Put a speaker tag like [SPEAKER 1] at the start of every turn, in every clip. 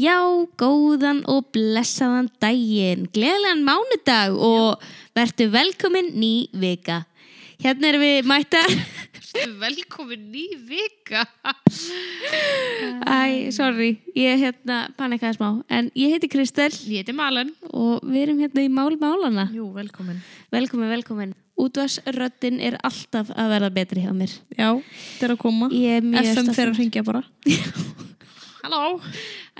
[SPEAKER 1] Já, góðan og blessaðan daginn, gleðilegan mánudag og vertu velkomin ný vika. Hérna erum við mættar.
[SPEAKER 2] Velkomin ný vika
[SPEAKER 1] Æ, sorry, ég hérna panikaði smá, en ég heiti Kristel
[SPEAKER 2] Ég heiti Malen
[SPEAKER 1] og við erum hérna í Mál Málana.
[SPEAKER 2] Jú, velkomin
[SPEAKER 1] Velkomin, velkomin. Útvarsröddin er alltaf að verða betri hjá mér.
[SPEAKER 3] Já, þetta er að koma
[SPEAKER 1] Ég er mjög
[SPEAKER 3] FM
[SPEAKER 1] stolt.
[SPEAKER 3] þeirra hringja bara
[SPEAKER 2] Halló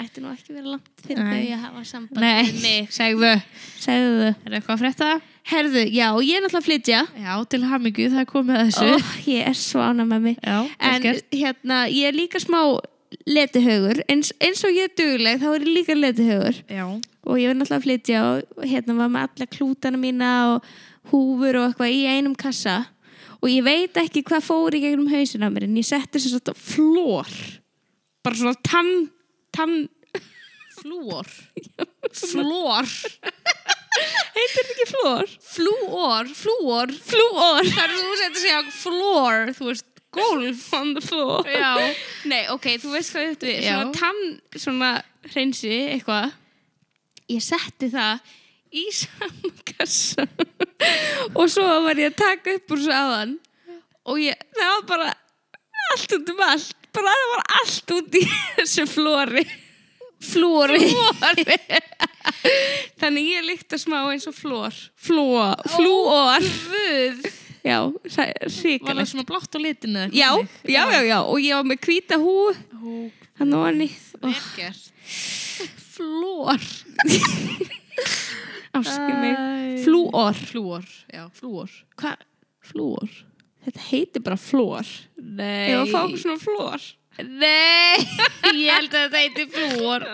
[SPEAKER 1] Ætti nú ekki verið langt fyrir
[SPEAKER 3] Nei.
[SPEAKER 1] þau að hafa samband.
[SPEAKER 2] Nei, segðu Er
[SPEAKER 1] Segðu þau.
[SPEAKER 2] eitthvað að frétta?
[SPEAKER 1] Herðu, já, ég er náttúrulega að flytja.
[SPEAKER 2] Já, til hamingju, það er komið að þessu
[SPEAKER 1] Ó, ég er svo ána með mig.
[SPEAKER 2] Já, vel
[SPEAKER 1] En
[SPEAKER 2] gert.
[SPEAKER 1] hérna, ég er líka smá letihaugur, eins, eins og ég er dugleg þá er ég líka letihaugur
[SPEAKER 2] Já
[SPEAKER 1] og ég var náttúrulega að flytja og hérna var með alla klútana mína og húfur og eitthvað í einum kassa og ég veit ekki hvað fór í gegnum hausin á mér en ég setti sér svona flór bara svona tann, tann
[SPEAKER 2] Flúor Flúor
[SPEAKER 1] heitir þetta ekki flór?
[SPEAKER 2] Flúor Flúor
[SPEAKER 1] Flúor
[SPEAKER 2] Þar þú setið að segja flúor Þú veist, golf
[SPEAKER 1] on the floor
[SPEAKER 2] Já
[SPEAKER 1] Nei, ok, þú veist hvað þetta er
[SPEAKER 2] Já.
[SPEAKER 1] Svona tann, svona hreinsi, eitthvað Ég setti það í sama kassa Og svo var ég að taka upp úr svo aðan Og ég, það var bara allt út um allt Bara það var allt út í þessu flóri Flóri Þannig ég líkta smá eins og flór Flóa, flúor
[SPEAKER 2] Guð
[SPEAKER 1] Já, ríkalegt
[SPEAKER 2] Var það svona blátt á litinu? eða
[SPEAKER 1] Já,
[SPEAKER 2] hvernig?
[SPEAKER 1] já, já, já, og ég var með hvíta hú
[SPEAKER 2] Ó,
[SPEAKER 1] hann og hann í
[SPEAKER 2] vel gert Flúor
[SPEAKER 1] áskil mig
[SPEAKER 2] Æ.
[SPEAKER 1] flúor
[SPEAKER 2] Flúor, já, flúor
[SPEAKER 1] Hva?
[SPEAKER 2] Flúor
[SPEAKER 1] þetta heitir bara flúor
[SPEAKER 2] Nei
[SPEAKER 1] ég var að fá okkur svona flúor
[SPEAKER 2] Nei, ég held að þetta heiti flúor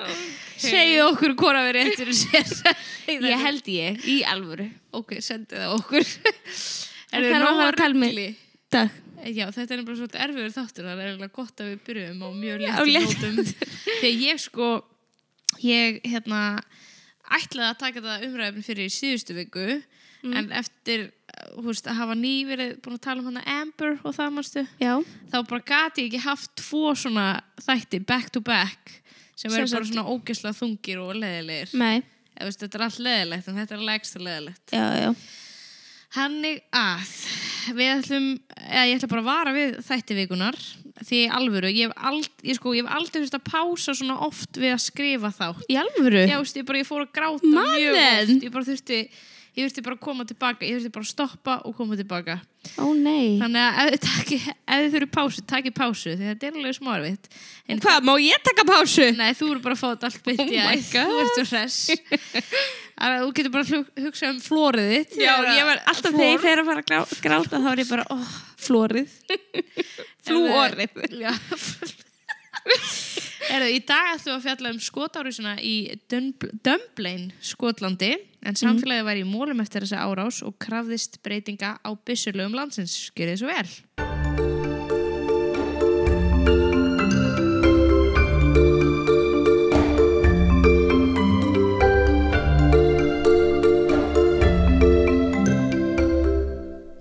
[SPEAKER 2] Segðu okkur hvora við réttur sér
[SPEAKER 1] ég held ég, í alvöru
[SPEAKER 2] Ok, sendu það okkur
[SPEAKER 1] En
[SPEAKER 2] Eru
[SPEAKER 1] það er
[SPEAKER 2] nóg
[SPEAKER 1] að fara að tala með-
[SPEAKER 2] rugli?
[SPEAKER 1] dag
[SPEAKER 2] Já, þetta er bara svolítið erfiður þáttur Það er eiginlega gott að við byrjum á mjög
[SPEAKER 1] Já,
[SPEAKER 2] léttum
[SPEAKER 1] léttum.
[SPEAKER 2] nótum Þegar ég sko Ég hérna ætlaði að taka þetta umræðum fyrir í síðustu viku
[SPEAKER 1] Mm.
[SPEAKER 2] En eftir hú veist, að hafa ný verið búin að tala um hana Amber og það manstu
[SPEAKER 1] já,
[SPEAKER 2] þá bara gati ég ekki haft tvo svona þætti back to back sem
[SPEAKER 1] Sem
[SPEAKER 2] eru bara
[SPEAKER 1] sagt- Mm.
[SPEAKER 2] svona ógeðslega þungir og leðilegir
[SPEAKER 1] nei,
[SPEAKER 2] eða veist, þetta er allt leðilegt en þetta er alveg ekstra leðilegt
[SPEAKER 1] já, já
[SPEAKER 2] hannig að við ætlum, eða ég ætla bara að vara við þætti vikunar því í alvöru, ég hef, ald, ég, sko, ég hef aldrei þurft að pása svona oft við að skrifa þátt
[SPEAKER 1] í alvöru?
[SPEAKER 2] Já,
[SPEAKER 1] já,
[SPEAKER 2] veist, ég bara ég fór að gráta mjög
[SPEAKER 1] Mannen!
[SPEAKER 2] oft ég bara þurfti, ég þurfti bara að koma tilbaka ég þurfti bara að stoppa og koma tilbaka
[SPEAKER 1] ó nei
[SPEAKER 2] Þannig að ef þið, taki, ef þið þurfið pásu, takið pásu því þetta er alveg smáarvitt. En
[SPEAKER 1] hvað, má ég taka pásu?
[SPEAKER 2] nei, þú eru bara að fá þetta allt byrjt
[SPEAKER 1] Oh my god.
[SPEAKER 2] Þú ert svo hress. Þannig að þú getur bara að hugsa um flórið þitt.
[SPEAKER 1] já, ég var alltaf þegar ég fer að fara að grá- gráta þá er ég bara, ó, flórið flúorið
[SPEAKER 2] Já. Heru, í dag ætlum við að fjalla um skotárusina í Dun- Dumblein, Skotlandi en samfélagið var í mólum eftir þessa árás og krafðist breytinga á byssulögum landsins. Gjörið svo vel.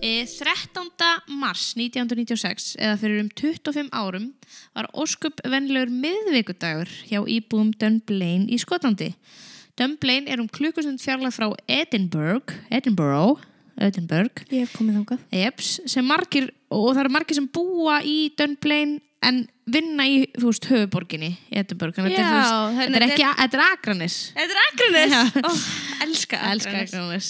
[SPEAKER 2] Eh, 13. mars 1996 eða fyrir um 25 árum var óskup venlegur miðvikudagur hjá íbúum Dunblane í Skotlandi. Dunblane er um klukkustund fjarlag frá Edinburgh, Edinburgh, Edinburgh,
[SPEAKER 1] ég hef komið þákað
[SPEAKER 2] eps, sem margir, og það eru margir sem búa í Dunblane en vinna í, þú veist, höfuborginni í Edinburgh. Þannig að þetta er, þú
[SPEAKER 1] Já,
[SPEAKER 2] veist,
[SPEAKER 1] þannig
[SPEAKER 2] þetta er
[SPEAKER 1] að
[SPEAKER 2] ekki, þetta er Akranis.
[SPEAKER 1] þetta er Akranes ó, elska
[SPEAKER 2] Elskar Akranes.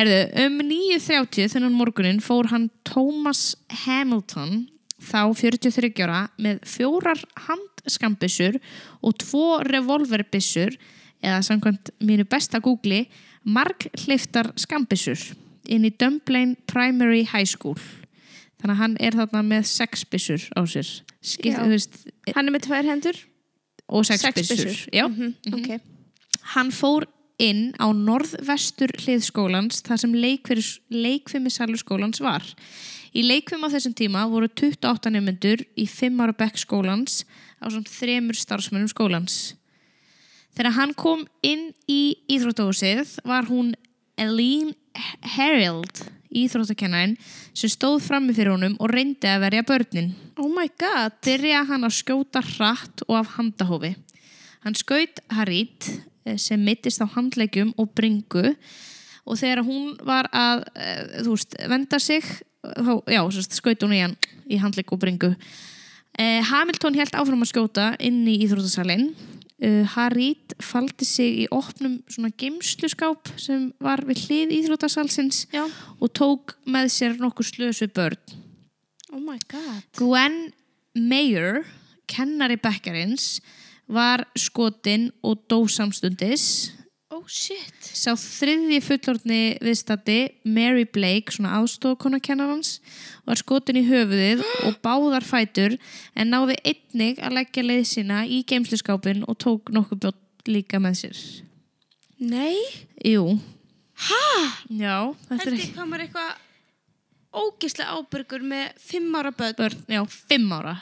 [SPEAKER 2] Erðu, um 9.30 þennan morgunin fór hann Thomas Hamilton þá 43 ára með fjórar handskambissur og tvo revolverbissur eða samkvæmt mínu besta googli marg hliftar skambissur inn í Dumblein Primary High School þannig að hann er þarna með sex bissur á sér Skil,
[SPEAKER 1] Já.
[SPEAKER 2] þú veist,
[SPEAKER 1] hann er með tvær hendur
[SPEAKER 2] og sex,
[SPEAKER 1] Sex
[SPEAKER 2] bissur,
[SPEAKER 1] byssur.
[SPEAKER 2] Já.
[SPEAKER 1] Mhm, ok
[SPEAKER 2] Hann fór inn á norðvestur hlið skólans þar sem leikfimissalur skólans var. Í leikfim á þessum tíma voru 28 nefnendur í 5 ára bekk skólans á svona þremur starfsmönnum skólans. Þegar hann kom inn í íþróttahúsið var hún Eileen Herald, íþróttakennarinn, sem stóð frammi fyrir honum og reyndi að verja börnin
[SPEAKER 1] oh my god
[SPEAKER 2] byrjaði hann að skjóta hratt og af handahófi. Hann skaut Harit eh, sem mittist á handlegjum og bringu og þegar hún var að eh, þú veist, venda sig þá, já, sem sagt, skaut hún í hann í handlegg og bringu eh, Hamilton held áfram að skjóta inn í íþróttasalinn eh, Harit faldi sig í opnum svona geimsluskáp sem var við hlið íþróttasalsins
[SPEAKER 1] Já.
[SPEAKER 2] og tók með sér nokkur slösu börn
[SPEAKER 1] Oh my god.
[SPEAKER 2] Gwen Mayer, kennari bekkarins, var skotin og dó samstundis.
[SPEAKER 1] Oh shit.
[SPEAKER 2] Sá þriðji fullorðni viðstati, Mary Blake, svona aðstofkona kennarans, var skotin í höfuðið og báðar fætur en náði einnig að leggja leið sína í geimsliskápin og tók nokkuð bjótt líka með sér.
[SPEAKER 1] Nei.
[SPEAKER 2] Jú,
[SPEAKER 1] Hæ?
[SPEAKER 2] já, þetta er
[SPEAKER 1] Heldur
[SPEAKER 2] ekki
[SPEAKER 1] ég hvað maður eitthvað ógislega ábyrgur með fimm ára börn
[SPEAKER 2] börn, já, fimm ára.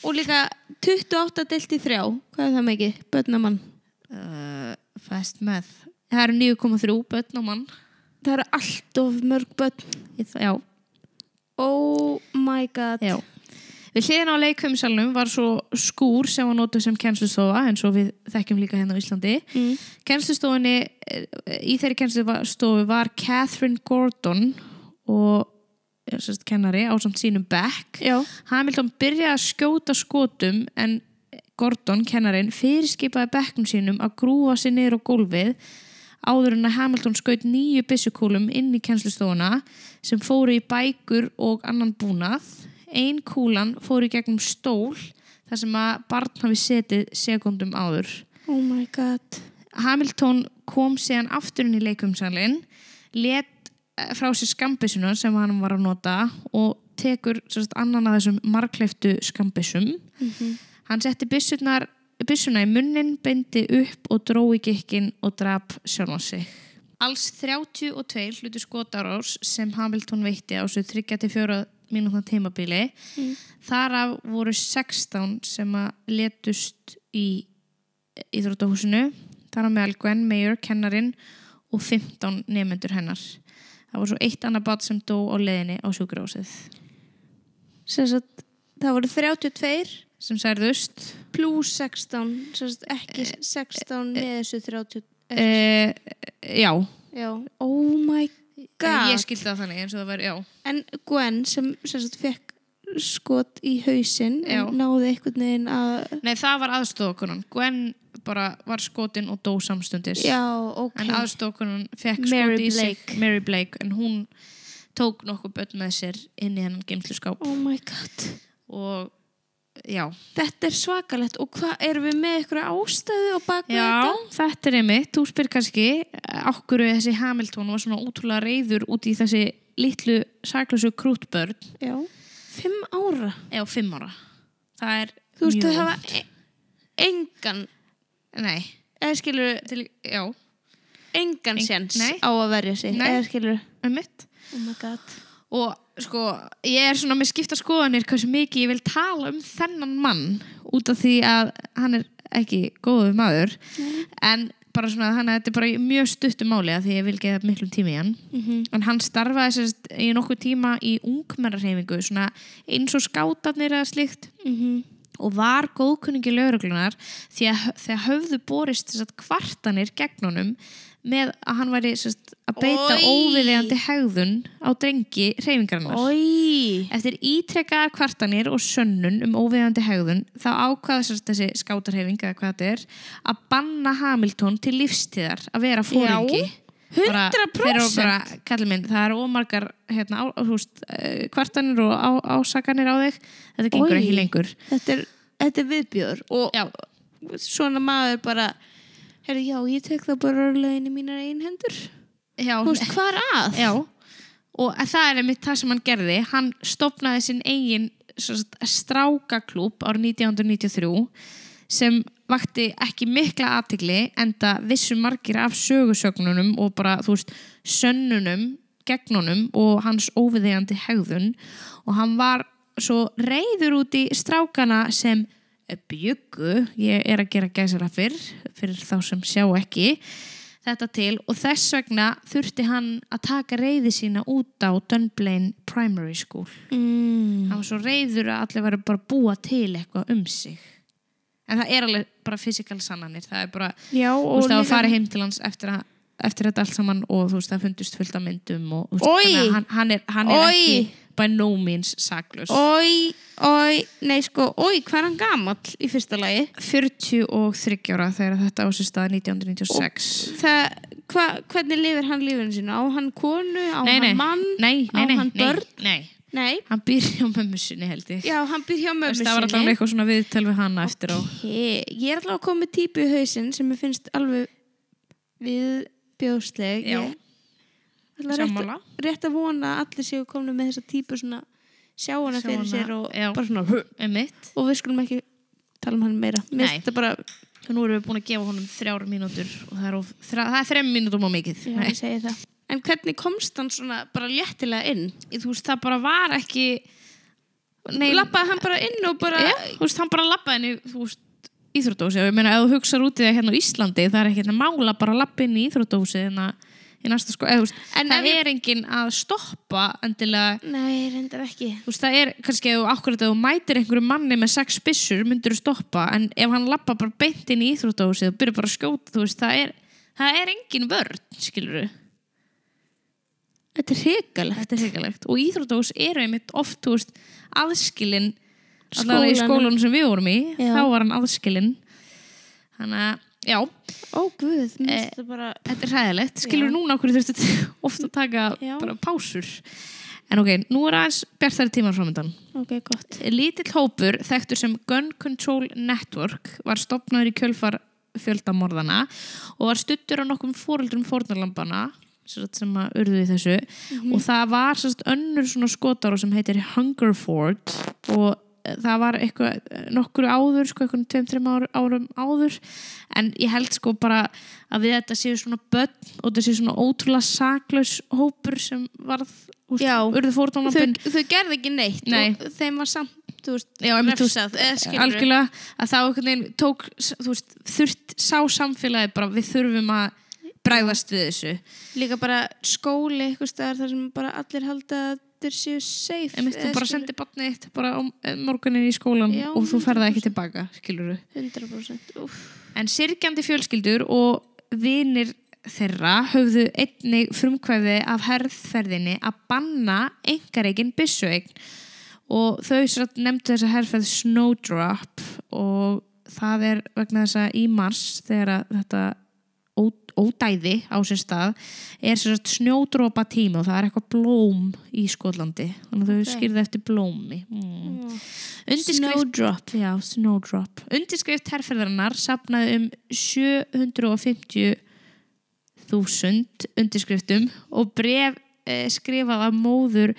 [SPEAKER 1] og líka 28 delt í þrjá. Hvað er það mikið? Börnamann.
[SPEAKER 2] Uh, fast með. Það eru 9,3 börn og mann.
[SPEAKER 1] Það eru allt of mörg börn.
[SPEAKER 2] Ég þ- Já,
[SPEAKER 1] Oh my god.
[SPEAKER 2] Já. Við hliðin á leikfimsalunum var svo skúr sem var notuð sem kennslustofa eins og við þekkjum líka hérna á Íslandi.
[SPEAKER 1] Mm.
[SPEAKER 2] Kennslustofunni, eh, í þeirri kennslustofu var Catherine Gordon og eh, sérst, kennari á samt sínum Beck.
[SPEAKER 1] Já.
[SPEAKER 2] Hamilton byrjaði að skjóta skotum en Gordon, kennarin, fyrirskipaði Becknum sínum að grúfa sér niður á gólfið áður en að Hamilton skaut nýju byssukúlum inn í kennslustofuna sem fóru í bækur og annan búnað. Ein kúlan fóru í gegnum stól þar sem að barn hafi setið sekundum áður.
[SPEAKER 1] Oh my god.
[SPEAKER 2] Hamilton kom síðan aftur inn í leikumsalinn, let frá sér skambissuna sem hann var að nota og tekur sem sagt, annan af þessum markleiftu skambissum. Hann setti byssunar, byssuna í munnin, beindi upp og dró í gikkin og drap sjálfan sig. Alls 32 hlutu skotarás sem Hamilton veitti á svo 34 mínútna tímabili. Þar af voru 16 sem að letust í íþróttahúsinu þar á meðal Gwen Mayer, kennarin og 15 nefnendur hennar það var svo eitt annað bat sem dó á leiðinni á sjúkurásið
[SPEAKER 1] Sem sagt, það voru 32
[SPEAKER 2] sem særðust
[SPEAKER 1] pluss 16, sem sagt, ekki 16 með þessu 30.
[SPEAKER 2] e, já,
[SPEAKER 1] Já, oh my god.
[SPEAKER 2] ég skildi það þannig eins og það var, já,
[SPEAKER 1] En Gwen sem, sem sagt, fekk skot í hausinn
[SPEAKER 2] Já.
[SPEAKER 1] en náði einhvern veginn að...
[SPEAKER 2] nei það var aðstofakonan Gwen bara var skotin og dó samstundis
[SPEAKER 1] Já, ok.
[SPEAKER 2] en aðstofakonan fekk
[SPEAKER 1] Mary
[SPEAKER 2] skoti í sig
[SPEAKER 1] Blake.
[SPEAKER 2] Mary Blake en hún tók nokkuð börn með sér inn í hennan geimsluskáp
[SPEAKER 1] Oh my god.
[SPEAKER 2] og já,
[SPEAKER 1] Þetta er svakalegt og hvað erum við með eitthvað ástæðu og bak við
[SPEAKER 2] Já,
[SPEAKER 1] þetta?
[SPEAKER 2] þetta er einmitt. Þú spyr kannski okkur þessi Hamilton var svona útrúlega reyður út í þessi litlu saklausu krútbörn
[SPEAKER 1] Já. Fimm ára.
[SPEAKER 2] eða fimm ára. Það er
[SPEAKER 1] Þú veist,
[SPEAKER 2] mjög
[SPEAKER 1] þau hafa
[SPEAKER 2] ungt.
[SPEAKER 1] e engan,
[SPEAKER 2] Nei,
[SPEAKER 1] eða skilur,
[SPEAKER 2] til, já,
[SPEAKER 1] engan
[SPEAKER 2] Eng-
[SPEAKER 1] séns
[SPEAKER 2] nei.
[SPEAKER 1] á að verja sig,
[SPEAKER 2] Nei.
[SPEAKER 1] eða skilur.
[SPEAKER 2] einmitt.
[SPEAKER 1] Oh my god.
[SPEAKER 2] Og sko, ég er svona með skipta skoðanir hversu mikið ég vil tala um þennan mann út af því að hann er ekki góðu maður. En bara svona, hann, þetta er bara í mjög stuttum máli að því ég vil geða miklum tími í hann. En hann starfaði sérst í nokkuð tíma í ungmennarhefingu, svona eins og skátarnir eða slíkt
[SPEAKER 1] Mm -hmm.
[SPEAKER 2] og var góðkunningi lögreglunar því að þegar höfðu borist sérst, kvartanir gegn honum með að hann væri sérst, að beita
[SPEAKER 1] Oj.
[SPEAKER 2] óviðeigandi hegðun á drengi reyfingarinnar.
[SPEAKER 1] Ói.
[SPEAKER 2] Eftir ítrekkaðar kvartanir og sönnun um óviðandi hegðun þá ákvaða sérst þessi skátarhefing eða hvað þetta er að banna Hamilton til lífstíðar að vera fóringi.
[SPEAKER 1] Já, 100%.
[SPEAKER 2] bara, kallið minn, það eru ómargar hérna, á, húst, kvartanir og á, ásakanir á þig. Þetta gengur
[SPEAKER 1] Oj.
[SPEAKER 2] ekki lengur.
[SPEAKER 1] Þetta er, þetta er viðbjör og
[SPEAKER 2] Já,
[SPEAKER 1] svona maður bara Herri, já, ég tek það bara orðlegin í mínar einn hendur.
[SPEAKER 2] já,
[SPEAKER 1] Þú veist, hvað er að?
[SPEAKER 2] já. Og það er einmitt það sem hann gerði. Hann stopnaði sinn eigin sem sagt, strákaklúb árið 1993 sem vakti ekki mikla aðtigli enda vissu margir af sögusögnunum og bara, þú veist, sönnunum gegnunum og hans óviðeigandi hegðun og hann var svo reyður út í strákana sem byggu, ég er að gera gæsara fyrr, fyrir þá sem sjá ekki þetta til og þess vegna þurfti hann að taka reyði sína út á Dunblane Primary School
[SPEAKER 1] Mm.
[SPEAKER 2] hann var svo reyður að allir væri bara að búa til eitthvað um sig en það er alveg bara fysikal sannanir það er bara,
[SPEAKER 1] Já,
[SPEAKER 2] þú
[SPEAKER 1] og
[SPEAKER 2] veist, það var farið heim til hans eftir, að, eftir þetta allt saman og þú veist, það fundust fullt af myndum og þú veist,
[SPEAKER 1] Oj!
[SPEAKER 2] þannig að hann, hann er, hann er
[SPEAKER 1] Oj!
[SPEAKER 2] ekki by no means saklus
[SPEAKER 1] Ói, ói, nei sko, ói, hvað er hann gamall í fyrsta lagi?
[SPEAKER 2] 43 ára þegar þetta á sér stað 1996
[SPEAKER 1] Það, hva, hvernig lifir hann lífinu sínu? Á hann konu, á
[SPEAKER 2] nei,
[SPEAKER 1] hann
[SPEAKER 2] nei,
[SPEAKER 1] mann,
[SPEAKER 2] nei, nei,
[SPEAKER 1] á
[SPEAKER 2] nei,
[SPEAKER 1] hann
[SPEAKER 2] nei,
[SPEAKER 1] börn?
[SPEAKER 2] nei,
[SPEAKER 1] Nei,
[SPEAKER 2] hann byrja á mömmu sinni held ég
[SPEAKER 1] já, hann býr hjá mömmu
[SPEAKER 2] Veist,
[SPEAKER 1] sinni.
[SPEAKER 2] það var alltaf eitthvað svona viðtöl við hana eftir á
[SPEAKER 1] Ég, ég er alltaf að koma með típu í hausinn sem mér finnst alveg viðbjóðsleg.
[SPEAKER 2] Já.
[SPEAKER 1] Ég ætla rétt,
[SPEAKER 2] Sammála.
[SPEAKER 1] rétt að vona að allir séu komna með þessa típu svona sjá hana
[SPEAKER 2] Sjá
[SPEAKER 1] fyrir
[SPEAKER 2] hana,
[SPEAKER 1] sér og
[SPEAKER 2] já.
[SPEAKER 1] bara svona "Huh."
[SPEAKER 2] Einmitt.
[SPEAKER 1] og við skulum ekki tala um hann meira. Mér
[SPEAKER 2] Nei.
[SPEAKER 1] finnst þetta bara,
[SPEAKER 2] Nú erum við búin að gefa honum þrjár mínútur og það er, of, þrjá, það er þrem mínútum á mikið.
[SPEAKER 1] já,
[SPEAKER 2] Nei.
[SPEAKER 1] ég segi það. En hvernig komst hann svona bara léttilega inn?
[SPEAKER 2] Þú veist, það bara var ekki... Nei,
[SPEAKER 1] Lappaði hann bara inn og bara...
[SPEAKER 2] já, þú veist, hann bara lappaði henni, þú veist, íþróttahúsi. Og ég meina, ef þú hugsar út í það hérna á Íslandi, það er ekki hérna mála bara að lappa inn í íþróttahúsi en að í næsta sko... Eð, veist,
[SPEAKER 1] En ef
[SPEAKER 2] það
[SPEAKER 1] ég-
[SPEAKER 2] er enginn að stoppa endilega...
[SPEAKER 1] Nei, reyndar ekki.
[SPEAKER 2] Þú veist, það er kannski ef þú akkurat ef þú mætir einhverju manni með sex byssur myndur þú stoppa en ef hann lappa bara beint inn í íþróttahúsið og byrjar bara að skjóta, þú veist, það er, það er engin vörn, skilur við.
[SPEAKER 1] Þetta er hrikalegt.
[SPEAKER 2] Þetta er hrikalegt. Og íþróttahús eru einmitt oft, þú veist, aðskilin allavega í
[SPEAKER 1] Skólanum.
[SPEAKER 2] skólanum sem við vorum í,
[SPEAKER 1] Já.
[SPEAKER 2] þá var hann aðskilin. Þannig að, já,
[SPEAKER 1] Ó, guð, mér
[SPEAKER 2] Eh.
[SPEAKER 1] finnst þetta bara...
[SPEAKER 2] þetta er hræðilegt. Skilur við núna okkur þurftu ofta að taka
[SPEAKER 1] Já.
[SPEAKER 2] bara pásur. En ok, nú er aðeins bjartari tímar framöndan.
[SPEAKER 1] Ok, gott.
[SPEAKER 2] Lítill hópur, þekktur sem Gun Control Network, var stopnaður í kjölfar fjöldamorðana og var stuttur á nokkrum fóreldrum fórnarlambana sem sagt, sem að urðu í þessu
[SPEAKER 1] Mhm.
[SPEAKER 2] og það var sérst, önnur svona skotar sem heitir Hungerford og eh, það var eitthvað eh, nokkru áður, sko eitthvað tveim, tveim ár, árum áður en ég held sko bara að við þetta séu svona börn og þetta séu svona ótrúlega saklaus hópur sem varð, úst,
[SPEAKER 1] Já.
[SPEAKER 2] urðu
[SPEAKER 1] Þau,
[SPEAKER 2] fórnarlambin
[SPEAKER 1] þau gerði ekki neitt
[SPEAKER 2] Nei.
[SPEAKER 1] og þeim var samt, þú veist,
[SPEAKER 2] Já, einmitt, þú veist, eh,
[SPEAKER 1] refsað, eða skilur við.
[SPEAKER 2] algjörlega að þá einhvern veginn tók þú veist, þurft sá samfélagi bara við þurfum að bræðast við þessu
[SPEAKER 1] Líka bara skóli eitthvað staðar þar sem bara allir halda að þeir séu safe.
[SPEAKER 2] einmitt, þú
[SPEAKER 1] eða
[SPEAKER 2] bara
[SPEAKER 1] skilur
[SPEAKER 2] sendir barnið þitt bara á morgunin í skólan
[SPEAKER 1] Já,
[SPEAKER 2] og þú ferða ekki tilbaka skiluru.
[SPEAKER 1] við. 100%. Úff,
[SPEAKER 2] en sirgjandi fjölskyldur og vinir þeirra höfðu einnig frumkvæði af herðferðinni að banna engareikinn byssueign og þau satt nefndu þessa herrferð Snowdrop og það er vegna þess að í mars þegar að þetta ó- ódæði á sér stað er sér að snjódrópa tími og það er eitthvað blóm í Skotlandi þannig að þau okay. skýrðu eftir blómi mm.
[SPEAKER 1] Oh,
[SPEAKER 2] Snowdrop Já, Snowdrop Undirskrift herrferðarinnar sapnaði um 750 þúsund undirskriftum og bref eh, skrifað af móður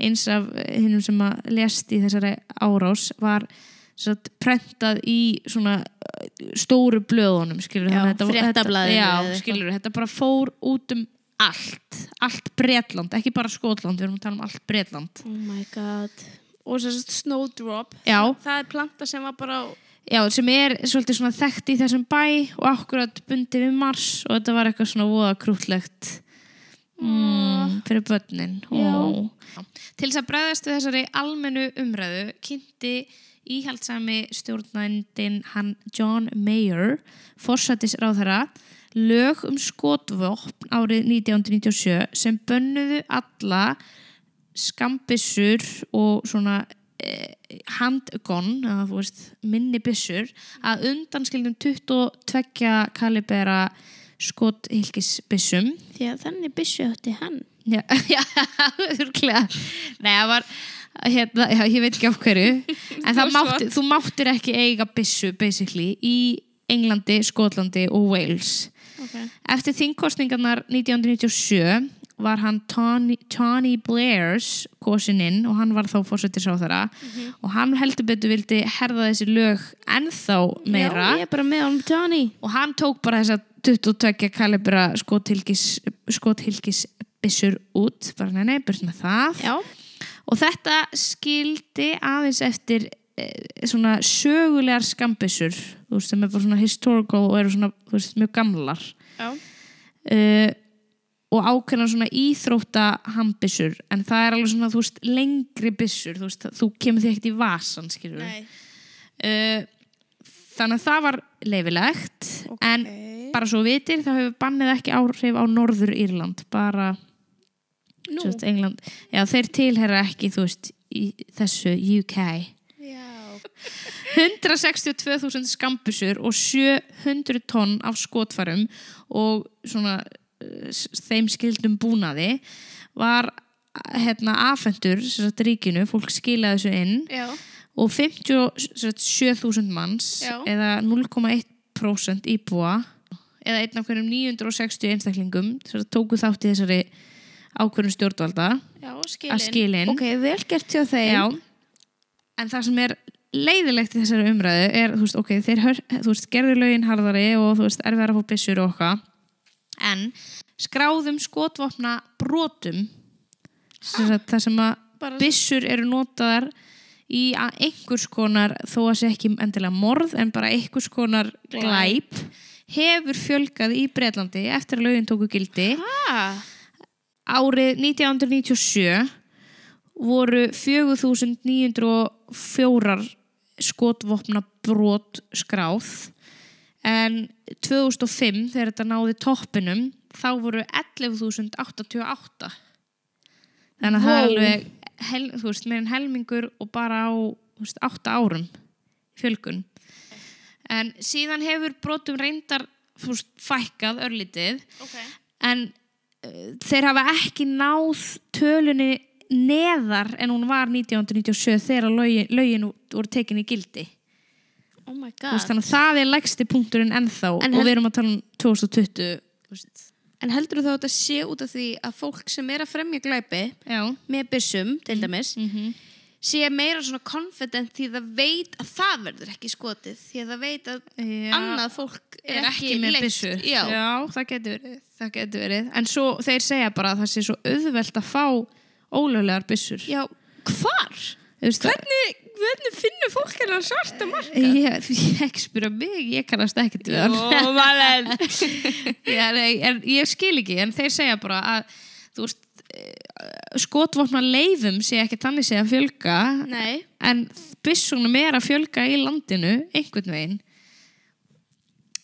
[SPEAKER 2] eins af eh, hinnum sem að lest í þessari árás var satt, prentað í svona eh, stóru blöðunum skilur
[SPEAKER 1] Já, fréttablaðinu eða
[SPEAKER 2] þetta,
[SPEAKER 1] eitthvað.
[SPEAKER 2] já, skilur, þetta bara fór út um allt allt Bretland, ekki bara Skotland við erum að tala um allt Bretland
[SPEAKER 1] oh my god. Og svo snowdrop.
[SPEAKER 2] já,
[SPEAKER 1] Það er planta sem var bara á...
[SPEAKER 2] já, sem er svolítið svona þekkt í þessum bæ og akkurat bundi við mars og þetta var eitthvað svona voða krútlegt mm, fyrir börnin Ó. til þess að bregðast við þessari almennu umræðu kynnti íhaldsami stjórnændin hann John Mayer forsættis ráðherra lög um skotvopn árið 1997 sem bönnuðu alla skambissur og svona eh, handgun, eða þú veist minni bissur, að undanskildum 22 kalibera skothylkisbissum
[SPEAKER 1] Því að þannig byssu átti hann.
[SPEAKER 2] Já, já, örglega. Nei, það var, hérna, já, ég veit ekki af hverju, en það
[SPEAKER 1] Þú
[SPEAKER 2] mátti, þú máttir ekki eiga byssu, basically, í Englandi, Skotlandi og Wales.
[SPEAKER 1] Ok.
[SPEAKER 2] Eftir þingkostningarnar 1997 var hann Tony, Tony Blairs kosin inn og hann var þá fórsetir sá þeirra
[SPEAKER 1] Mhm.
[SPEAKER 2] og hann heldur betur vildi herða þessi lög ennþá meira
[SPEAKER 1] Já, ég er bara með honum Johnny.
[SPEAKER 2] og hann tók bara þessa 22 kalibra skothylkis, skothylkis byssur út, bara nei, nei, burt með það
[SPEAKER 1] Já.
[SPEAKER 2] og þetta skildi aðeins eftir eh, svona sögulegar skambissur þú veist, sem er bara svona historical og eru svona, þú veist, mjög gamlar
[SPEAKER 1] Já.
[SPEAKER 2] uh, og ákveðna svona íþrótta hambissur, en það er alveg svona, þú veist, Mm. lengri byssur, þú veist, þú kemur því ekkert í vasan, skilur við
[SPEAKER 1] Nei.
[SPEAKER 2] uh, þannig að það var leifilegt en
[SPEAKER 3] Ókei.
[SPEAKER 2] bara svo vitir þá hefur bannið ekki áhrif á Norður Írland bara
[SPEAKER 1] Nú.
[SPEAKER 2] Sjöst, England, já, þeir tilherra ekki þú veist, í þessu UK
[SPEAKER 3] Já.
[SPEAKER 2] 162.000 skambusur og 700 tonn af skotfarum og svona eh, s- þeim skildum búnaði var hérna afhendur sem sagt, ríkinu, fólk skilaði þessu inn
[SPEAKER 1] Já.
[SPEAKER 2] og 57.000 manns
[SPEAKER 1] Já.
[SPEAKER 2] eða 0,1% íbúa eða einn af hverjum 960 einstaklingum sem sagt, tóku þátt í þessari ákvörðum stjórnvalda
[SPEAKER 1] Já,
[SPEAKER 2] að
[SPEAKER 1] skilin.
[SPEAKER 2] skilin
[SPEAKER 3] Ok, vel gert hjá þeim.
[SPEAKER 2] Já, en það sem er leiðilegt í þessari umræðu er, þú veist, ok, þeir hör, þú veist, gerðu lögin harðari og þú veist, erfiðar að fá byssur og okkar, en skráðum skotvopna brotum sem sagt, það sem að
[SPEAKER 1] Bara-
[SPEAKER 2] byssur eru notaðar í að einhvers konar, þó að sé ekki endilega morð, en bara einhvers konar glæp, hefur fjölgað í Breitlandi eftir að lögin tóku gildi
[SPEAKER 1] Ah,
[SPEAKER 2] árið 1997 voru 4.904 skotvopna brot skráð en 2005 þegar þetta náði toppinum þá voru 11.088 þannig að það er
[SPEAKER 3] Vó.
[SPEAKER 2] alveg hel, þú veist, meir en helmingur og bara á þú veist, 8 árum fjölgun en síðan hefur brotum reyndar þú veist, fækkað örlítið
[SPEAKER 1] ok.
[SPEAKER 2] en uh, þeir hafa ekki náð tölunni neðar en hún var 1997 þegar lögin, lögin voru tekinni gildi
[SPEAKER 1] Oh my
[SPEAKER 2] Þú veist,
[SPEAKER 1] god.
[SPEAKER 2] þannig að það er lægsti punkturinn ennþá
[SPEAKER 1] En
[SPEAKER 2] og
[SPEAKER 1] hel-
[SPEAKER 2] við erum að tala um 2020 þú veist.
[SPEAKER 1] En heldur þú að þetta sé út af því að fólk sem er að fremja glæpi
[SPEAKER 2] já,
[SPEAKER 1] með byssum, til dæmis, sé meira svona confident því það veit að það verður ekki skotið. Því að það veit að
[SPEAKER 2] Já.
[SPEAKER 1] annað fólk er,
[SPEAKER 2] er ekki með
[SPEAKER 1] leyft.
[SPEAKER 2] byssu
[SPEAKER 1] Já.
[SPEAKER 2] það getur verið, það getur verið. en svo, þeir segja bara að það sé svo auðvelt að fá ólöglegar byssur
[SPEAKER 1] Já, hvar? Hvernig, hvernig finnur fólk hennar svarta marka?
[SPEAKER 2] Ég, ég ekki spyrja mig, ég kannast ekkert við hann.
[SPEAKER 1] malen.
[SPEAKER 2] Já, nei, en ég skil ekki, en þeir segja bara að þú veist, eh, skotvopna leifum sé ekki þannig sé að fjölga
[SPEAKER 1] Nei.
[SPEAKER 2] en byssunum er að fjölga í landinu einhvern veginn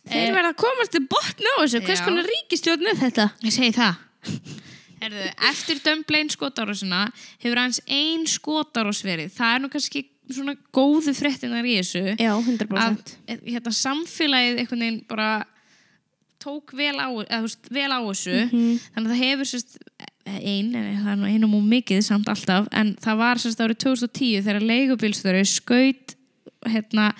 [SPEAKER 1] Þeir verða að komast til botna á þessu. Hvers
[SPEAKER 2] Já.
[SPEAKER 1] konar ríkistjórn er þetta?
[SPEAKER 2] Ég segi það Herðu, Eftir dömblein skotárásina hefur hans ein skotárás verið það er nú kannski svona góðu fréttinar í þessu
[SPEAKER 1] Já, 100%.
[SPEAKER 2] að eh, hérna, samfélagið einhvern veginn bara tók vel á, eða, þú veist, vel á þessu
[SPEAKER 1] Mhm.
[SPEAKER 2] þannig að það hefur sérst, ein, en það er nú einum og mikið samt alltaf en það var sérst árið 2010 þegar leigubílstöru skaut hérna,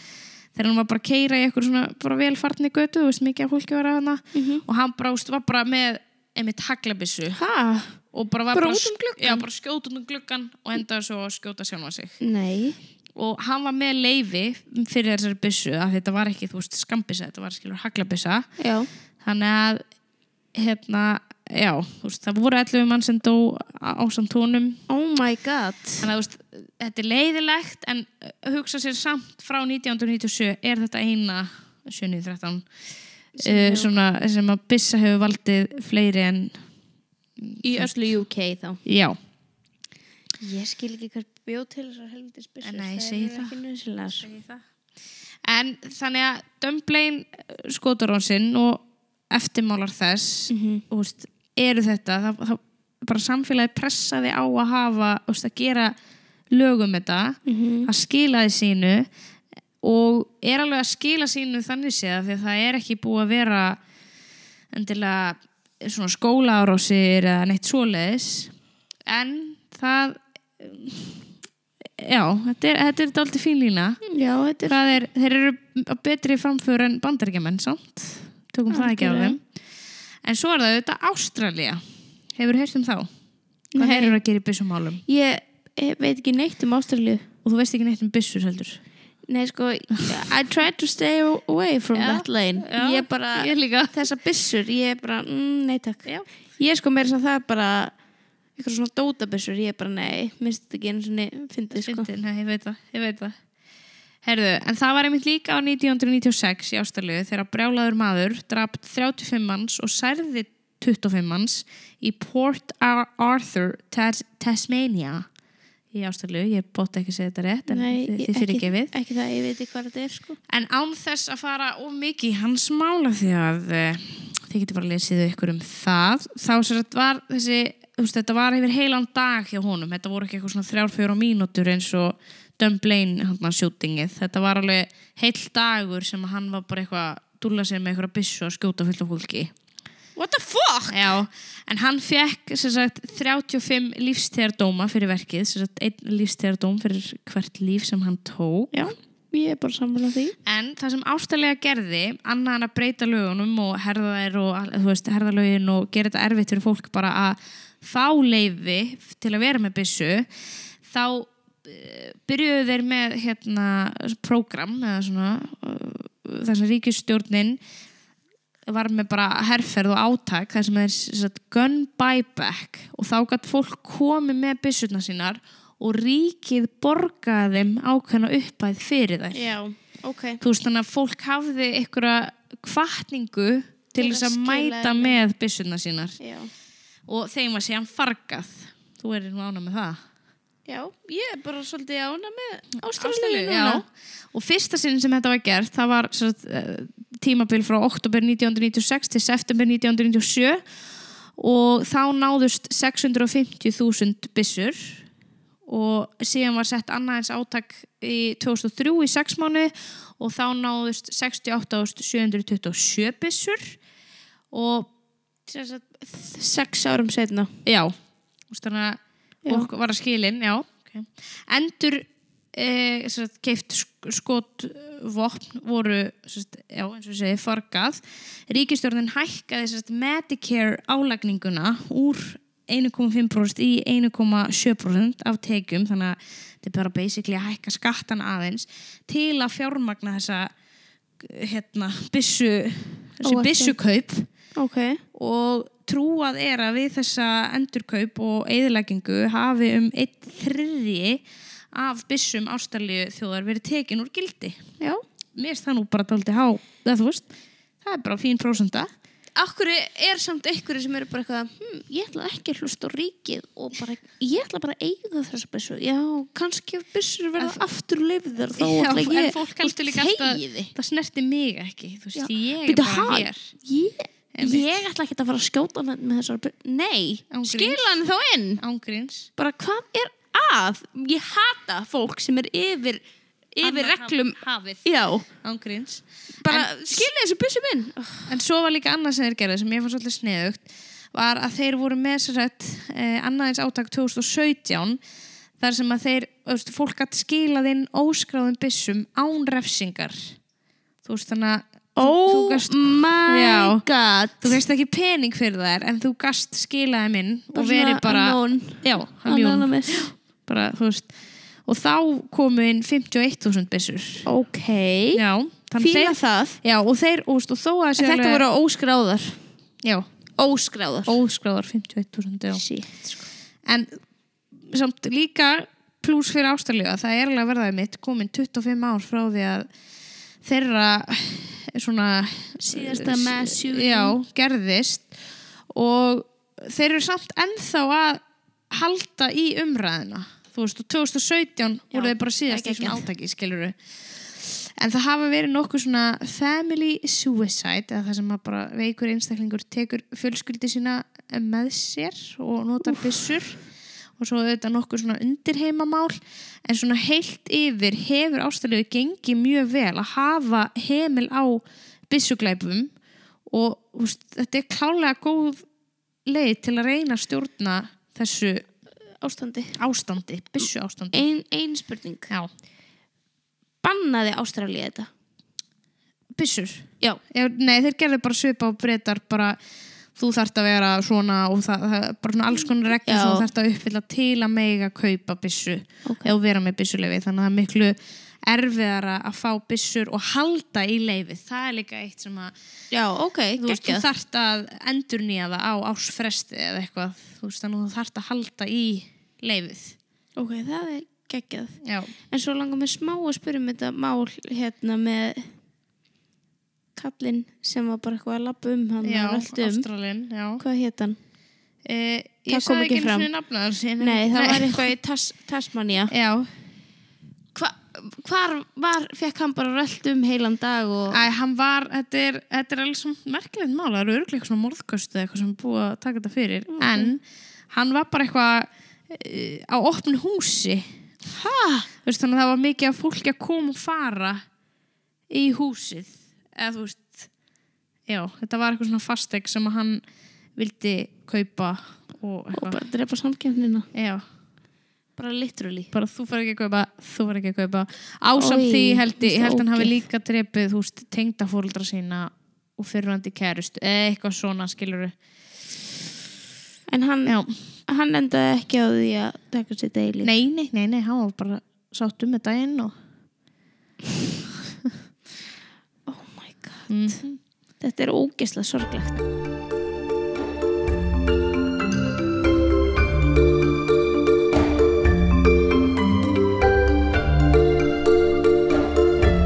[SPEAKER 2] þegar hann var bara að keira í eitthvað svona bara velfarni götu þú veist mikið að fólki var að hana
[SPEAKER 1] Mhm.
[SPEAKER 2] og hann bara, þú veist, var bara með einmitt haglabissu
[SPEAKER 1] Hæ?
[SPEAKER 2] og bara var
[SPEAKER 1] Bara
[SPEAKER 2] bara,
[SPEAKER 1] út um gluggann?
[SPEAKER 2] já, bara skjóta út um gluggan og endaði svo að skjóta sjálfa sig
[SPEAKER 1] Nei.
[SPEAKER 2] og hann var með leifi fyrir þessari byssu af því þetta var ekki, þú veist, skambissa þetta var skilur haglabissa
[SPEAKER 1] Já.
[SPEAKER 2] þannig að hérna, já, þú veist, það voru 11 mann sem dó á samtónum
[SPEAKER 1] Oh my god.
[SPEAKER 2] þannig að þú veist, þetta er leiðilegt en uh, hugsa sér samt frá 1997 er þetta eina 713 uh, svona, sem að byssa hefur valdið fleiri en,
[SPEAKER 1] Í öllu UK þá.
[SPEAKER 2] já
[SPEAKER 1] Ég skil ekki hver bjóð til þessar helvitis byssur.
[SPEAKER 2] Nei, ég
[SPEAKER 1] Þær
[SPEAKER 2] segi
[SPEAKER 1] eru
[SPEAKER 2] það.
[SPEAKER 1] Ekki nöðsilegar.
[SPEAKER 2] En þannig að Dömblein skotarónsinn og eftirmálar þess mm úst, eru þetta það, það, bara samfélagi pressaði á að hafa úst, að gera lögum þetta -hmm. að skilaði sínu og er alveg að skila sínu þannig séð því að það er ekki búið að vera endilega svona skólaárásir eða neitt svoleiðis en það já, þetta er, þetta er dálítið fín lína
[SPEAKER 1] Já, þetta
[SPEAKER 2] Það er, þeir eru á betri framför en bandaríkjamenn, samt? Tökum það ekki á þeim. En svo er það auðvitað Ástralía. Hefur heyrt um þá? Hvað þeir eru að gera í byssumálum?
[SPEAKER 1] Ég, ég veit ekki neitt um Ástralju.
[SPEAKER 2] Og þú veist ekki neitt um byssur heldur.
[SPEAKER 1] Nei, sko, I tried to stay away from
[SPEAKER 2] Já,
[SPEAKER 1] that lane.
[SPEAKER 2] já,
[SPEAKER 1] ég bara,
[SPEAKER 2] ég líka.
[SPEAKER 1] þessar byssur, ég bara, mm, nei takk.
[SPEAKER 2] Já.
[SPEAKER 1] Ég sko meira þess að það er bara, eitthvað svona dótabyssur, ég bara, nei, minnst þetta ekki einu svona, fyndið sko.
[SPEAKER 2] Fyndi, nei, ég veit það, ég veit það. Herðu, en það var einmitt líka á 1996 í Ástralíu þegar brjálaður maður drap 35 manns og særði 25 manns í Port Ar- Arthur, Tas Tasmania í ástæðlu, ég bótti ekki að segja þetta rétt en Nei,
[SPEAKER 1] ég-
[SPEAKER 2] þið fyrir gefið
[SPEAKER 1] Ekki, ekki það, ég veit ekki hvað þetta er sko.
[SPEAKER 2] En án þess að fara of mikið í hans mála því að uh, þið getur bara að lesið ykkur um það þá sér þetta var þessi þú veist, þetta var yfir heilan dag hjá honum þetta voru ekki eitthvað svona þrjár, fjóra mínútur eins og Dumblein hann að sjútingið þetta var alveg heill dagur sem að hann var bara eitthvað að dúlla sér með eitthvað byssu og skjóta fullt af fólki
[SPEAKER 1] What the fuck?
[SPEAKER 2] Já, en hann fekk sem sagt, 35 lífstegardóma fyrir verkið, sem sagt, einn lífstegardóm fyrir hvert líf sem hann tók
[SPEAKER 1] Já, ég er bara sammála því.
[SPEAKER 2] En það sem ástæðlega gerði, annað en að breyta lögunum og herða þær og all- þú veist, herða lögin og gera þetta erfitt fyrir fólk bara að fá leifi til að vera með byssu, þá eh, byrjuðu þeir með hérna prógram eða svona eh, þess að ríkistjórnin var með bara herferð og átak þar sem er sem sagt, gun buyback og þá gætt fólk komið með byssuna sínar og ríkið borgaði þeim ákveðna uppæð fyrir þær
[SPEAKER 1] Já, ok.
[SPEAKER 2] þú veist þannig að fólk hafði einhverja kvartningu
[SPEAKER 1] Til
[SPEAKER 2] til þess
[SPEAKER 1] að
[SPEAKER 2] að
[SPEAKER 1] skila
[SPEAKER 2] mæta
[SPEAKER 1] henni.
[SPEAKER 2] með byssuna sínar
[SPEAKER 1] Já.
[SPEAKER 2] og þeim var síðan fargað þú erir nú ána með það
[SPEAKER 1] Já, ég er bara svolítið ána með ástæðlegu
[SPEAKER 2] Ástralíu,
[SPEAKER 1] núna.
[SPEAKER 2] já. og fyrsta sinn sem þetta var gert það var svo, uh, tímabil frá oktober 1996 til september 1997 og þá náðust 650.000 byssur og síðan var sett annað eins átak í 2003 í 6 mánu og þá náðust 68.727 byssur og
[SPEAKER 1] Sem sagt, þ- Sex árum setna.
[SPEAKER 2] Já, Þú veist
[SPEAKER 1] Já.
[SPEAKER 2] þannig að okkur var að skilin, já. Endur e, keift skotvopn voru, sagt, já, eins og ég segi, fargað. Ríkistjórnin hækkaði sagt, Medicare álagninguna úr 1,5% í 1,7% af tekjum, þannig að þetta er bara basically að hækka skattan aðeins til að fjármagna þessa hérna, byssu, þessi
[SPEAKER 1] Áætlun.
[SPEAKER 2] byssukaup
[SPEAKER 1] Ok.
[SPEAKER 2] og trúað er að við þessa endurkaup og eðileggingu hafi um eitt þriði af byssum ástæðlíu þjóðar verið tekin úr gildi.
[SPEAKER 1] Já.
[SPEAKER 2] Mér finnst það nú bara daldi há, það þú veist, það er bara fín prósenda.
[SPEAKER 1] Akkur er samt einhverju sem eru bara eitthvað, hm, ég ætla ekki að hlusta á ríkið og bara, ég ætla bara að eiga þessa byssu. Já, kannski ef byssur verða aftur leifðar þá
[SPEAKER 2] Já,
[SPEAKER 1] ætla ég
[SPEAKER 2] en fólk heldur líka alltaf,
[SPEAKER 1] þegiði.
[SPEAKER 2] það snerti mig ekki, þú veist,
[SPEAKER 1] Já,
[SPEAKER 2] ég er
[SPEAKER 1] Býtu,
[SPEAKER 2] bara
[SPEAKER 1] hann,
[SPEAKER 2] hér.
[SPEAKER 1] ég,
[SPEAKER 2] Einmitt.
[SPEAKER 1] ég ætla ekki að fara að skjóta með, með þessar byssu. Nei,
[SPEAKER 2] Ángríns.
[SPEAKER 1] skila hann þá inn.
[SPEAKER 2] Ángríns.
[SPEAKER 1] bara hvað er að ég hata fólk sem er yfir yfir
[SPEAKER 2] Annað
[SPEAKER 1] reglum
[SPEAKER 2] haf- Hafið.
[SPEAKER 1] já,
[SPEAKER 2] Ángríns.
[SPEAKER 1] bara skilja þessu byssu minn
[SPEAKER 2] En svo var líka annað sem þeir gerðu sem ég fann svolítið sniðugt var að þeir voru með sér sett eh, annaðins átak 2017 þar sem að þeir, þú veist, fólk að skilað inn óskráðum byssum án refsingar þú veist þannig að þú- þú gast,
[SPEAKER 1] Oh my
[SPEAKER 2] Já.
[SPEAKER 1] god
[SPEAKER 2] þú veist ekki pening fyrir þær en þú gast skilað þeim inn og
[SPEAKER 1] Bara
[SPEAKER 2] verið
[SPEAKER 1] svona
[SPEAKER 2] bara
[SPEAKER 1] unknown.
[SPEAKER 2] já, unknown.
[SPEAKER 1] Anonymous.
[SPEAKER 2] bara, þú veist og þá komu inn 51.000 byssur
[SPEAKER 1] ok
[SPEAKER 2] já, þannig
[SPEAKER 1] fíla
[SPEAKER 2] þeir
[SPEAKER 1] það
[SPEAKER 2] já, og þeir, og, þú veist, og þó að sé
[SPEAKER 1] en þetta
[SPEAKER 2] alveg-
[SPEAKER 1] voru óskráðar
[SPEAKER 2] já,
[SPEAKER 1] óskráðar
[SPEAKER 2] óskráðar 51.000 já.
[SPEAKER 1] Oh, shit sko.
[SPEAKER 2] en samt líka pluss fyrir ástæðlegu að það er alveg að verða mitt komin 25 ár frá því að þeirra svona
[SPEAKER 1] Síðasta mass shooting.
[SPEAKER 2] já, gerðist og þeir eru samt ennþá að halda í umræðina þú veist, og 2017 voru þeir bara síðast í
[SPEAKER 1] ekki
[SPEAKER 2] svona átaki, skilur en það hafa verið nokkuð svona family suicide eða það sem að bara veikur einstaklingur tekur fjölskyldi sína með sér og notar byssur og svo auðvitað nokkuð svona undirheimamál en svona heilt yfir hefur ástæðlegu gengið mjög vel að hafa heimil á byssuglæpum og úst, þetta er klálega góð leið til að reyna að stjórna þessu
[SPEAKER 1] ástandi
[SPEAKER 2] ástandi, byssu ástandi
[SPEAKER 1] ein, ein spurning
[SPEAKER 2] Já,
[SPEAKER 1] bannaði Ástralja þetta
[SPEAKER 2] byssur
[SPEAKER 1] já
[SPEAKER 2] Já, nei, þeir gerðu bara svipa og breytar bara þú þarft að vera svona og það, það bara svona alls konar reglum
[SPEAKER 1] Já.
[SPEAKER 2] sem þú þarft að uppfylla til að mega kaupa byssu
[SPEAKER 1] Ok.
[SPEAKER 2] eða vera með byssuleifi þannig að það er miklu erfiðara að fá byssur og halda í leifi það er líka eitt sem að
[SPEAKER 1] já, ok
[SPEAKER 2] þú, veist, þú þarft að endurnýja það á ásfresti eða eitthvað þú veist þannig að þú þarft að halda í leifið
[SPEAKER 1] ok, það er geggjað
[SPEAKER 2] Já.
[SPEAKER 1] En svo langar mér smá að spyrja um þetta mál hérna með kallinn sem var bara eitthvað að lappa um hann
[SPEAKER 2] Já,
[SPEAKER 1] og allt um.
[SPEAKER 2] Ástralin, já.
[SPEAKER 1] Hvað hétt hann?
[SPEAKER 2] Uh,
[SPEAKER 1] Það
[SPEAKER 2] ég
[SPEAKER 1] kom ekki
[SPEAKER 2] sagði ekki einu
[SPEAKER 1] fram.
[SPEAKER 2] svona nafnaðar sinni.
[SPEAKER 1] Nei, það var eitthvað í Tas Tasmania.
[SPEAKER 2] Já,
[SPEAKER 1] Hva, hvar var, fekk hann bara rölt um heilan dag og...
[SPEAKER 2] Æ, hann var, þetta er, þetta er alveg svona merkilegt mál, það eru örglega eitthvað svona morðköstu eða eitthvað sem er búið að taka þetta fyrir, en hann var bara eitthvað uh, á opnu húsi,
[SPEAKER 1] Hæ?
[SPEAKER 2] þú veist, þannig að það var mikið af fólki að koma og fara í húsið, eða þú veist, já, þetta var eitthvað svona fasteg sem að hann vildi kaupa og
[SPEAKER 1] Og
[SPEAKER 2] eitthvað,
[SPEAKER 1] bara drepa samkjöfnina.
[SPEAKER 2] já.
[SPEAKER 1] Bara literally.
[SPEAKER 2] bara þú far ekki að kaupa, þú far ekki að kaupa ásamt
[SPEAKER 1] Oj,
[SPEAKER 2] því held ég, ég held hann hafi
[SPEAKER 1] ógeð.
[SPEAKER 2] líka drepið þú veist, tengda fóruldra sína og fyrrandi kærust, eða eitthvað svona skilur
[SPEAKER 1] En hann,
[SPEAKER 2] já,
[SPEAKER 1] hann endaði ekki á því að taka sér deili.
[SPEAKER 2] nei, nei, nei, nei hann var bara sátt um þetta inn og
[SPEAKER 1] Oh my god.
[SPEAKER 2] Mhm.
[SPEAKER 1] Þetta er ógeðslega sorglegt.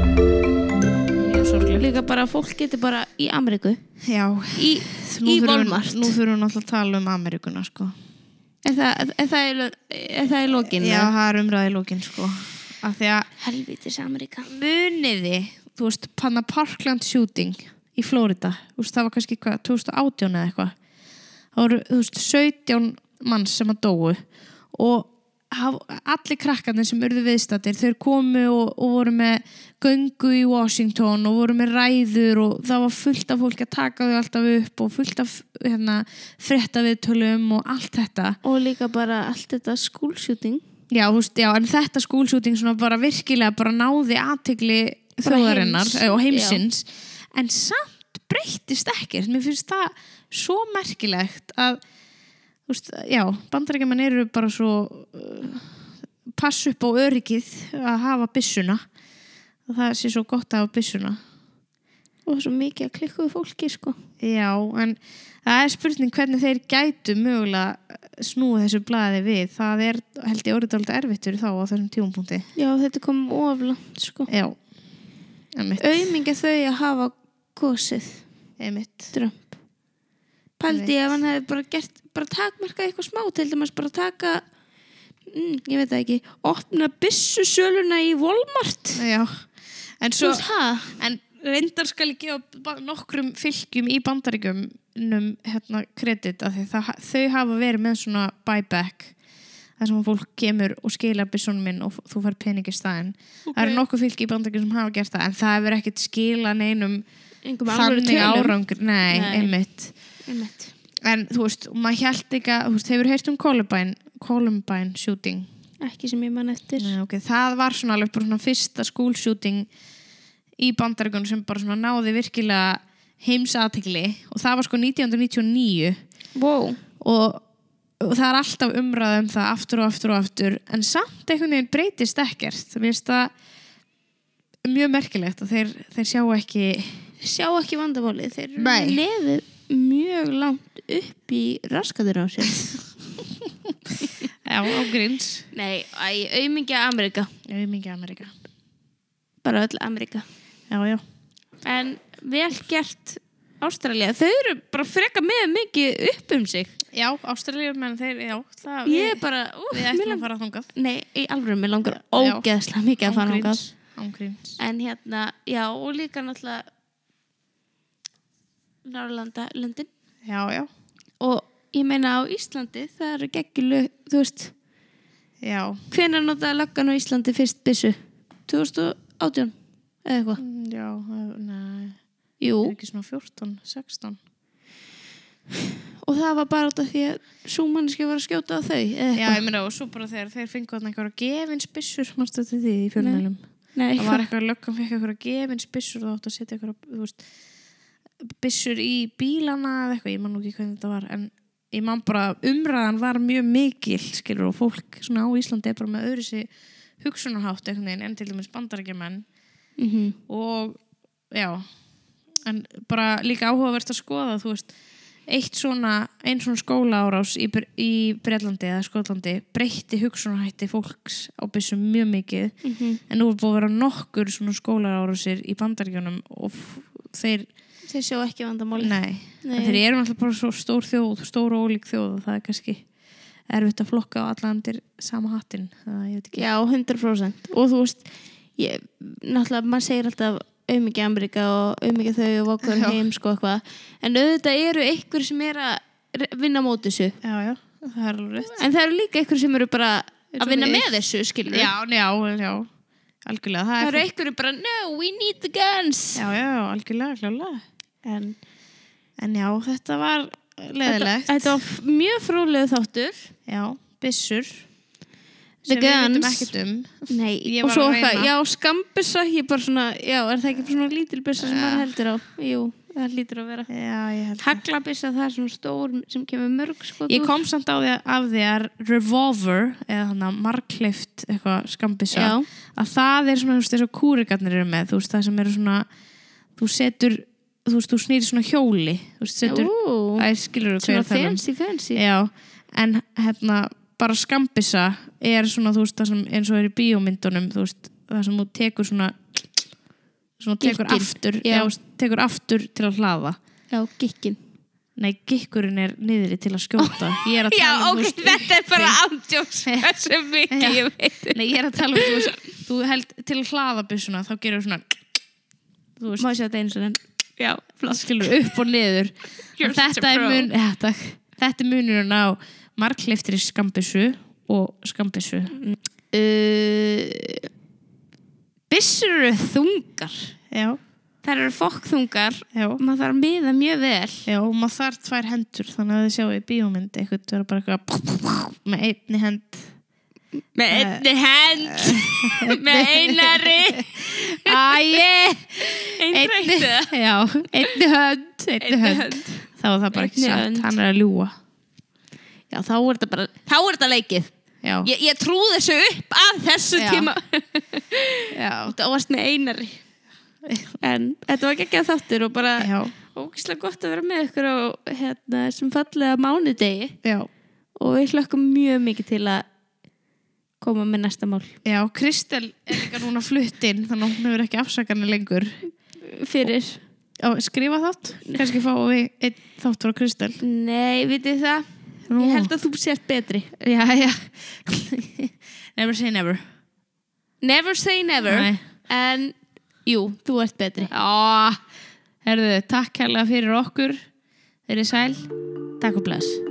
[SPEAKER 2] mjög sorglega
[SPEAKER 1] Líka bara að fólk getur bara í Ameríku.
[SPEAKER 2] já,
[SPEAKER 1] Í,
[SPEAKER 2] nú
[SPEAKER 1] í
[SPEAKER 2] þurfum,
[SPEAKER 1] Walmart.
[SPEAKER 2] nú þurfum við náttúrulega að tala um Ameríkuna sko.
[SPEAKER 1] Er það, er það, í lo- er það í lokinu?
[SPEAKER 2] já, það er umræði lókin sko. af því að
[SPEAKER 1] Helvitis Ameríka.
[SPEAKER 2] muniði, þú veist, panna Parkland shooting í Flórida, þú veist, það var kannski hvað, 2018 eða eitthvað það voru, þú veist, 17 manns sem að dóu og haf- allir krakkarnir sem urðu viðstættir, þeir komu og, og voru með göngu í Washington og voru með ræður og það var fullt af fólki að taka þau alltaf upp og fullt af hérna, frétta viðtölum og allt þetta
[SPEAKER 1] Og líka bara allt þetta skúlsjúting.
[SPEAKER 2] Já, þú veist, já, en þetta skúlsúting svona bara virkilega bara náði aðtegli
[SPEAKER 1] Bara
[SPEAKER 2] þjóðarinnar
[SPEAKER 1] heims,
[SPEAKER 2] eh, og heimsins en samt breyttist ekkert mér finnst það svo merkilegt að, þú veist, já bandarækjumann eru bara svo uh, pass upp á öryggið að hafa byssuna og það sé svo gott að hafa byssuna
[SPEAKER 1] Og svo mikið að klikkuðu fólki, sko.
[SPEAKER 2] Já, en það er spurning hvernig þeir gætu mögulega snúið þessu blaði við það er, held ég, orðið alveg erfittur þá á þessum tíumpunkti
[SPEAKER 1] Já, þetta kom of langt, sko.
[SPEAKER 2] Já, emitt,
[SPEAKER 1] Auðminga þau að hafa kosið
[SPEAKER 2] emitt.
[SPEAKER 1] Trump. Paldi ef hann hefði bara gert, bara takmarkað eitthvað smá, til dæmis bara taka, mm, ég veit það ekki, opna byssu söluna í Walmart.
[SPEAKER 2] Já, en
[SPEAKER 1] Þú
[SPEAKER 2] svo
[SPEAKER 1] veist, hæ?
[SPEAKER 2] en reyndar skal ég gefa ba- nokkrum fylgjum í bandaríkjumnum hérna kredit af því það, þau hafa verið með svona buyback þar sem að fólk kemur og skila byssunum minn og f- þú fær pening í staðinn það eru nokkuð fylgi í bandaríkjum sem hafa gert það en það hefur ekkert skila neinum
[SPEAKER 1] Engum alvöru
[SPEAKER 2] þannig
[SPEAKER 1] tölum.
[SPEAKER 2] árangur, nei,
[SPEAKER 1] Nei.
[SPEAKER 2] einmitt
[SPEAKER 1] Einmitt.
[SPEAKER 2] en þú veist, og maður hjælt ekki að þú veist, hefur heyrt um Columbine, Columbine shooting
[SPEAKER 1] Ekki sem ég man eftir.
[SPEAKER 2] Nei, Eh, ok, það var svona alveg bara svona fyrsta skúlsjúting í bandaríkunum sem bara svona náði virkilega heimsatikli og það var sko 1999
[SPEAKER 1] Wow.
[SPEAKER 2] og, og það er alltaf umræða um það aftur og aftur og aftur en samt einhvern veginn breytist ekkert mér finnst það mjög merkilegt að þeir, þeir sjá ekki
[SPEAKER 1] Sjá ekki vandamálið, þeir eru
[SPEAKER 2] Nei.
[SPEAKER 1] með nefið mjög langt upp í raskadur á sér.
[SPEAKER 2] Já, ágríns
[SPEAKER 1] Nei, auðmingja Amerika.
[SPEAKER 2] Já, ég mingi Amerika
[SPEAKER 1] Bara öll Amerika.
[SPEAKER 2] Já, já
[SPEAKER 1] En vel gert Ástralja, þau eru bara freka með mikið upp um sig.
[SPEAKER 2] Já, Ástralíu, menn þeir, já það,
[SPEAKER 1] Ég er bara, ú,
[SPEAKER 2] Við
[SPEAKER 1] mér
[SPEAKER 2] ætlum að
[SPEAKER 1] langar,
[SPEAKER 2] fara þangað
[SPEAKER 1] nei, í alveg, mér langar
[SPEAKER 2] Já.
[SPEAKER 1] ógeðslega mikið að fara ángað.
[SPEAKER 2] Ángríns, Ángríns
[SPEAKER 1] En hérna, já, og líka náttúrulega Norrlanda, Lundin.
[SPEAKER 2] Já, já
[SPEAKER 1] Og ég meina á Íslandi, það eru geggjulu, þú veist,
[SPEAKER 2] Já,
[SPEAKER 1] hvenær notaði löggan á Íslandi fyrst byssu? 2018 eða eitthvað?
[SPEAKER 2] Já, eh, nei,
[SPEAKER 1] Jú,
[SPEAKER 2] er ekki svona 14, 16
[SPEAKER 1] og það var bara út af því að súmanniski var að skjóta á þau eða
[SPEAKER 2] Já,
[SPEAKER 1] eitthvað.
[SPEAKER 2] ég meina, og svo bara þegar þeir fengu þarna einhverja gefinnsbyssur, mannstu þetta því í fjölmælum
[SPEAKER 1] Nei,
[SPEAKER 2] Það var eitthvað, löggan fekk einhverja gefinnsbyssur og það átti að setja einhverja, þú veist byssur í bílana eða eitthvað, ég man nú ekki hvernig þetta var en ég man bara, umræðan var mjög mikil skilur og fólk svona á Íslandi er bara með öðru sig hugsunarhátt einhvern veginn en til dæmis bandarækjumenn
[SPEAKER 1] mm
[SPEAKER 2] og já en bara líka áhugavert að skoða þú veist, eitt svona einn svona skóla árás í, Bre- í Breitlandi eða Skotlandi breytti hugsunarhætti fólks á byssum mjög mikið
[SPEAKER 1] Mhm.
[SPEAKER 2] en nú er búið að vera nokkur svona skóla árásir í bandaríkjónum og f- þeir
[SPEAKER 1] þeir sjá ekki vandamáli
[SPEAKER 2] Nei,
[SPEAKER 1] Nei.
[SPEAKER 2] þeir eru náttúrulega bara svo stór þjóð, stór og ólík þjóð og það er kannski erfitt að flokka á alla undir sama hattinn, þannig að ég veit ekki.
[SPEAKER 1] Já, 100% og þú veist ég, náttúrulega maður segir alltaf auðmikið Ameríka og auðmikið þau og okkur
[SPEAKER 2] Já.
[SPEAKER 1] heim sko eitthvað en auðvitað eru einhver sem er að re- vinna mót þessu
[SPEAKER 2] Já, já, það er alveg rétt.
[SPEAKER 1] en það eru líka einhver sem eru bara
[SPEAKER 2] Eins og
[SPEAKER 1] að vinna
[SPEAKER 2] við.
[SPEAKER 1] með þessu skilur
[SPEAKER 2] Já, já, já, algjörlega, það
[SPEAKER 1] það
[SPEAKER 2] er
[SPEAKER 1] eru einhver bara no, we need the guns
[SPEAKER 2] Já, já, algjörlega, klálega. En, en já, þetta var leðilegt.
[SPEAKER 1] Þetta, þetta var f- mjög fróðlegu þáttur
[SPEAKER 2] Já, byssur.
[SPEAKER 1] The
[SPEAKER 2] sem við vitum
[SPEAKER 1] Guns.
[SPEAKER 2] ekkert um.
[SPEAKER 1] Nei,
[SPEAKER 2] Ég
[SPEAKER 1] og
[SPEAKER 2] var
[SPEAKER 1] svo
[SPEAKER 2] að
[SPEAKER 1] eitthvað,
[SPEAKER 2] reyna.
[SPEAKER 1] já, skambissa ég bara svona, já, er það ekki bara svona lítilbissa sem maður heldur á? Jú, það lítur að vera
[SPEAKER 2] Já, ég held það.
[SPEAKER 1] Haglabissa, það er svona stór sem kemur mörg skot
[SPEAKER 2] Ég
[SPEAKER 1] úr.
[SPEAKER 2] kom samt á því að, af því að revolver, eða þannig að marklift eitthvað skambisa,
[SPEAKER 1] Já.
[SPEAKER 2] að það er svona, þú veist, þess að kúrikarnir eru með, þú veist, það sem eru svona, þú setur, þú veist, þú snýrir svona hjóli, þú veist, setur,
[SPEAKER 1] Ú,
[SPEAKER 2] það er skilur þú
[SPEAKER 1] svona fancy, fancy
[SPEAKER 2] Já, en hérna bara skambissa er svona þú veist það sem eins og er í bíómyndunum þú veist það sem þú tekur svona svona tekur
[SPEAKER 1] Gikkinn,
[SPEAKER 2] aftur
[SPEAKER 1] já.
[SPEAKER 2] já. Já, tekur aftur til að hlaða
[SPEAKER 1] Já, gikkin
[SPEAKER 2] Nei, gikkurinn er niðri til að skjóta Ég er að
[SPEAKER 1] Já,
[SPEAKER 2] tala um,
[SPEAKER 1] ok,
[SPEAKER 2] þú veist,
[SPEAKER 1] þetta er bara ándjóks hversu mikið
[SPEAKER 2] Já.
[SPEAKER 1] ég veit
[SPEAKER 2] Nei, ég er að tala um, þú veist, þú held til að hlaða byssuna, þá gerur svona þú veist,
[SPEAKER 1] Má ég sjá þetta einu sinni? Já, flott
[SPEAKER 2] skilur upp og niður
[SPEAKER 1] You're
[SPEAKER 2] En
[SPEAKER 1] such
[SPEAKER 2] þetta
[SPEAKER 1] a
[SPEAKER 2] er,
[SPEAKER 1] pro.
[SPEAKER 2] mun, ja, takk. þetta er munurinn á markleiftri skambissu og skambissu
[SPEAKER 1] uh, Bissur eru þungar
[SPEAKER 2] Já,
[SPEAKER 1] Þær eru fokkþungar
[SPEAKER 2] já
[SPEAKER 1] Maður þarf að miða mjög vel
[SPEAKER 2] Já, og maður þarf tvær hendur þannig að þið sjáu í bíómynd eitthvað vera bara eitthvað með einni hend
[SPEAKER 1] Með einni hend Með einari
[SPEAKER 2] Æi,
[SPEAKER 1] Einrættu
[SPEAKER 2] já, einni hönd einni hönd, þá er það bara ekki
[SPEAKER 1] Einni hönd.
[SPEAKER 2] satt hann er að ljúa
[SPEAKER 1] Já, þá er þetta bara Þá er þetta leikið
[SPEAKER 2] já,
[SPEAKER 1] Ég, ég trú þessu upp að þessu
[SPEAKER 2] Já.
[SPEAKER 1] tíma
[SPEAKER 2] já,
[SPEAKER 1] Þetta óvast með einari En þetta var ekki að þáttur og bara
[SPEAKER 2] já,
[SPEAKER 1] ógislega gott að vera með ykkur á hérna, sem fallega mánudegi
[SPEAKER 2] já.
[SPEAKER 1] og við hlökkum mjög mikið til að koma með næsta mál
[SPEAKER 2] Já, Kristel er líka núna fluttinn þannig að hún hefur ekki afsakanir lengur
[SPEAKER 1] fyrir.
[SPEAKER 2] Já, skrifa þátt, kannski fáum við einn þátt frá Kristel
[SPEAKER 1] Nei, vitið það?
[SPEAKER 2] Nú.
[SPEAKER 1] Ég held að þú sért betri.
[SPEAKER 2] Já, já Never say never
[SPEAKER 1] Never say never,
[SPEAKER 2] Nei.
[SPEAKER 1] en jú, þú ert betri.
[SPEAKER 2] Já, herðu, takk hérlega fyrir okkur. Þeir er sæl. Takk og bless.